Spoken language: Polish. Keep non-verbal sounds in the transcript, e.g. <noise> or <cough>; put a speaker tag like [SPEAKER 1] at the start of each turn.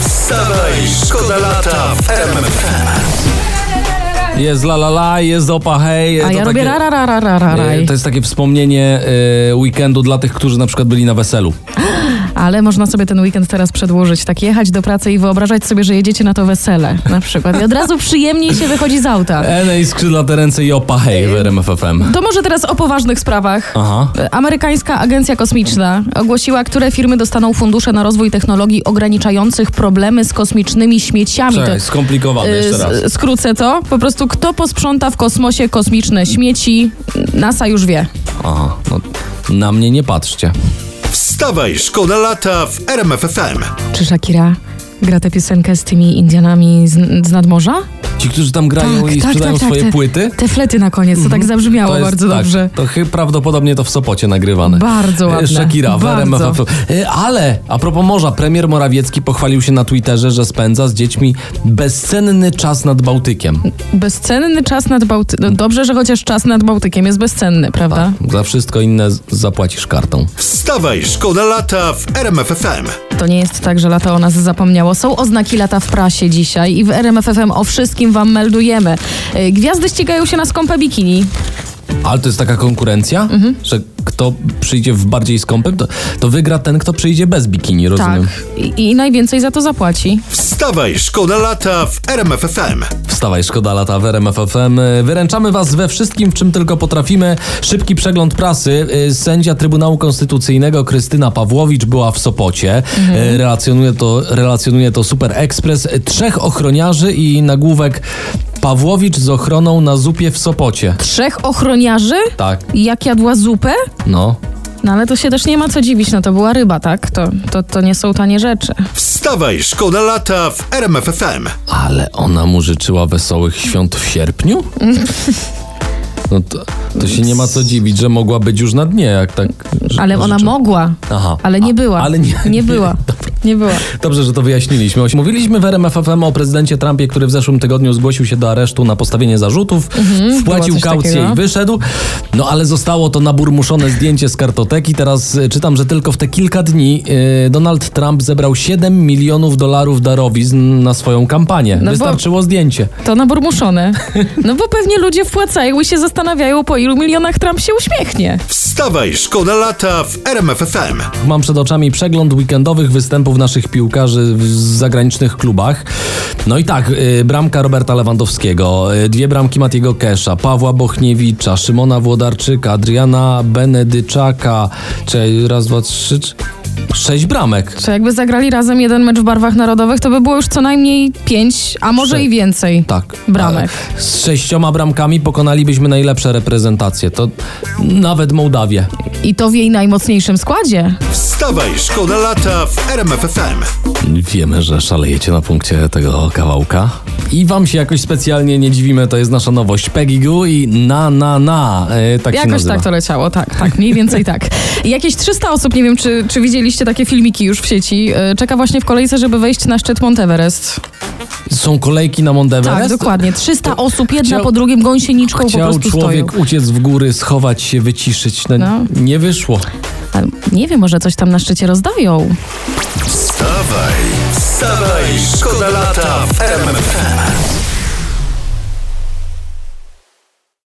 [SPEAKER 1] Wstawaj, szkoda lata w RMFFM.
[SPEAKER 2] Jest la la la, jest opa hej.
[SPEAKER 3] A
[SPEAKER 2] to
[SPEAKER 3] ja robię
[SPEAKER 2] takie-
[SPEAKER 3] rara, rara, rara,
[SPEAKER 2] e, To jest takie wspomnienie e, weekendu dla tych, którzy na przykład byli na weselu.
[SPEAKER 3] Ale można sobie ten weekend teraz przedłużyć, tak jechać do pracy i wyobrażać sobie, że jedziecie na to wesele na przykład. I od razu przyjemniej się wychodzi z auta.
[SPEAKER 2] Enej skrzydla te ręce i opa hej w RMF FM.
[SPEAKER 3] To może teraz o poważnych sprawach.
[SPEAKER 2] Aha.
[SPEAKER 3] E, Amerykańska Agencja Kosmiczna ogłosiła, które firmy dostaną fundusze na rozwój technologii ograniczających problemy z kosmicznymi śmieciami. To-
[SPEAKER 2] Czekaj, skomplikowane jeszcze raz.
[SPEAKER 3] Y, s- Skrócę to. Po prostu kto posprząta w kosmosie kosmiczne śmieci, NASA już wie.
[SPEAKER 2] Aha, no, na mnie nie patrzcie.
[SPEAKER 1] Wstawaj, szkoda lata w RMFFM.
[SPEAKER 3] Czy Shakira gra tę piosenkę z tymi Indianami z, z nadmorza?
[SPEAKER 2] Ci, którzy tam
[SPEAKER 3] Tak,
[SPEAKER 2] grają i sprzedają swoje
[SPEAKER 3] te,
[SPEAKER 2] płyty, Mhm.
[SPEAKER 3] Te flety na koniec, to tak zabrzmiało
[SPEAKER 2] to jest,
[SPEAKER 3] bardzo
[SPEAKER 2] tak,
[SPEAKER 3] dobrze.
[SPEAKER 2] To chy, prawdopodobnie to w Sopocie nagrywane.
[SPEAKER 3] Bardzo ładne.
[SPEAKER 2] E, Shakira w
[SPEAKER 3] Bardzo.
[SPEAKER 2] RMF FM. E, Ale a propos morza, premier Morawiecki pochwalił się na Twitterze, że spędza z dziećmi bezcenny czas nad Bałtykiem.
[SPEAKER 3] Bezcenny czas nad Bałtykiem. No dobrze, że chociaż czas nad Bałtykiem jest bezcenny, prawda?
[SPEAKER 2] Za wszystko inne z- zapłacisz kartą.
[SPEAKER 1] Wstawaj, szkoda lata w RMFFM.
[SPEAKER 3] To nie jest tak, że lato o nas zapomniało. Są oznaki lata w prasie dzisiaj i w RMFFM o wszystkim wam meldujemy. Y, Gwiazdy ścigają się na skąpe bikini.
[SPEAKER 2] Ale to jest taka konkurencja, że kto przyjdzie w bardziej skąpym, to, to wygra ten, kto przyjdzie bez bikini, rozumiem.
[SPEAKER 3] Tak. I, I najwięcej za to zapłaci.
[SPEAKER 1] Wstawaj, szkoda lata w RMFFM.
[SPEAKER 2] Wstawaj, szkoda lata w RMF FM. Wyręczamy was we wszystkim, w czym tylko potrafimy. Szybki przegląd prasy. Y, Sędzia Trybunału Konstytucyjnego Krystyna Pawłowicz była w Sopocie. Y, Relacjonuje to, relacjonuje to Super Express. Trzech ochroniarzy i nagłówek Pawłowicz z ochroną na zupie w Sopocie.
[SPEAKER 3] Trzech ochroniarzy?
[SPEAKER 2] Tak,
[SPEAKER 3] Jak jadła zupę?
[SPEAKER 2] no.
[SPEAKER 3] No ale to się też nie ma co dziwić, no to była ryba, tak? To, to, to nie są tanie rzeczy.
[SPEAKER 1] Wstawaj, szkoda lata w RMFFM.
[SPEAKER 2] Ale ona mu życzyła wesołych świąt w
[SPEAKER 3] <laughs>
[SPEAKER 2] sierpniu? No to, to się nie ma co dziwić, że mogła być już na dnie, jak tak. że-
[SPEAKER 3] Ale ona
[SPEAKER 2] życzyła.
[SPEAKER 3] mogła,
[SPEAKER 2] Aha.
[SPEAKER 3] ale
[SPEAKER 2] A-
[SPEAKER 3] nie była.
[SPEAKER 2] Ale nie, <laughs>
[SPEAKER 3] była. Nie była.
[SPEAKER 2] Dobrze, że to wyjaśniliśmy. Oś- Mówiliśmy w RMF FM o prezydencie Trumpie, który w zeszłym tygodniu zgłosił się do aresztu na postawienie zarzutów, wpłacił
[SPEAKER 3] Mhm, było coś
[SPEAKER 2] kaucję
[SPEAKER 3] takiego.
[SPEAKER 2] i wyszedł. No ale zostało to naburmuszone zdjęcie z kartoteki. Teraz y, czytam, że tylko w te kilka dni y, Donald Trump zebrał 7 milionów dolarów darowizn na swoją kampanię.
[SPEAKER 3] No bo-
[SPEAKER 2] Wystarczyło zdjęcie.
[SPEAKER 3] To naburmuszone. No bo pewnie ludzie wpłacają i się zastanawiają, po ilu milionach Trump się uśmiechnie.
[SPEAKER 1] Wstawaj, szkoda lata w RMFFM.
[SPEAKER 2] Mam przed oczami przegląd weekendowych występów naszych piłkarzy w zagranicznych klubach. No i tak, y, bramka Roberta Lewandowskiego, y, dwie bramki Matiego Kesza, Pawła Bochniewicza, Szymona Włodarczyka, Adriana Benedyczaka. Czy raz, dwa, trzy, cz- sześć bramek.
[SPEAKER 3] Czy jakby zagrali razem jeden mecz w barwach narodowych, to by było już co najmniej pięć, a może
[SPEAKER 2] Trzy.
[SPEAKER 3] i więcej.
[SPEAKER 2] Tak.
[SPEAKER 3] Bramek.
[SPEAKER 2] A Z sześcioma bramkami pokonalibyśmy najlepsze reprezentacje. To nawet Mołdawię.
[SPEAKER 3] I to w jej najmocniejszym składzie.
[SPEAKER 1] Wstawaj, szkoda lata w RMFFM.
[SPEAKER 2] Wiemy, że szalejecie na punkcie tego kawałka. I wam się jakoś specjalnie nie dziwimy, to jest nasza nowość Peggy Goo i na na na, e, tak się
[SPEAKER 3] Jakoś
[SPEAKER 2] nazywa.
[SPEAKER 3] tak to leciało, tak, tak, mniej więcej tak. Jakieś 300 osób, nie wiem czy, czy widzieliście takie filmiki już w sieci, e, czeka właśnie w kolejce, żeby wejść na szczyt Monteverest.
[SPEAKER 2] Są kolejki na Mondeverest?
[SPEAKER 3] Tak, dokładnie. 300 osób, jedna
[SPEAKER 2] chciał-
[SPEAKER 3] po drugim gąsieniczką po
[SPEAKER 2] Chciał
[SPEAKER 3] prostu
[SPEAKER 2] człowiek
[SPEAKER 3] stoją.
[SPEAKER 2] uciec w góry, schować się, wyciszyć. No,
[SPEAKER 3] No.
[SPEAKER 2] Nie wyszło.
[SPEAKER 3] Ale nie wiem, może coś tam na szczycie rozdają.
[SPEAKER 1] Wstawaj, wstawaj, szkoda lata w RMFFM.